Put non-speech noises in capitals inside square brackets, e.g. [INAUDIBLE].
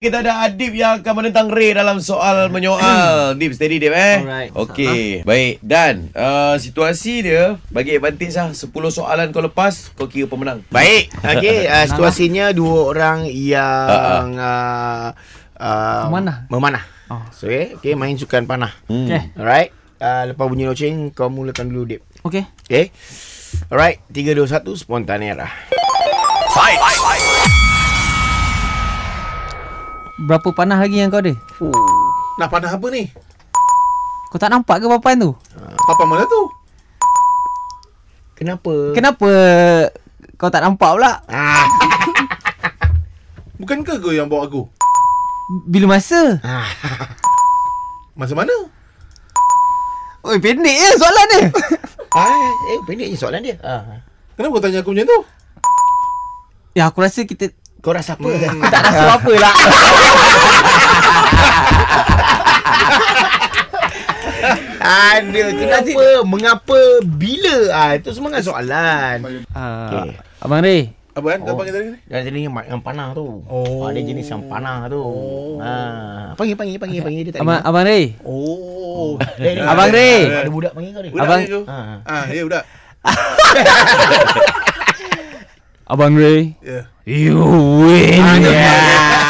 Kita ada Adib yang akan menentang Ray dalam soal [COUGHS] menyoal. Dip, steady Dip eh. Alright. Okey, baik. Dan uh, situasi dia bagi advantage lah. 10 soalan kau lepas, kau kira pemenang. Baik, [LAUGHS] okey, uh, situasinya dua orang yang uh, uh, Ha, Memanah. memanah. Ha. Oh. So, okay, okay, main sukan panah. Hmm. Okay. Alright. Uh, lepas bunyi loceng, kau mulakan dulu, Dip. Okay. Okay? Alright, 3, 2, 1, spontan era. Berapa panah lagi yang kau ada? Nak panah apa ni? Kau tak nampak ke papan tu? Papan mana tu? Kenapa? Kenapa kau tak nampak pula? Ah, [LAUGHS] Bukankah kau yang bawa aku? Bila masa? Masa mana? Oi, pendek je soalan [LAUGHS] dia. ah, eh, pendek je soalan dia. Ah. Kenapa kau tanya aku macam tu? ya, aku rasa kita Kau rasa apa? Hmm. [LAUGHS] tak rasa apa [LAUGHS] lah. Ada, kenapa? Mengapa? Bila? Ah, itu semua kan soalan. Uh, Abang Ray, Apa kan? Oh. Kau panggil tadi ni? Dan jenis yang, yang panah tu. Oh. Ah, dia jenis yang panah tu. Ah, panggil, panggil, panggil, panggil. Dia tak Abang Abang Ray. Oh. Eh, eh, Abang Ray. Ada budak panggil kau ni. Budak Abang- ni tu. Ah. Ah, ya budak. Abang Ray. Ya. You win. Ah, Yeah.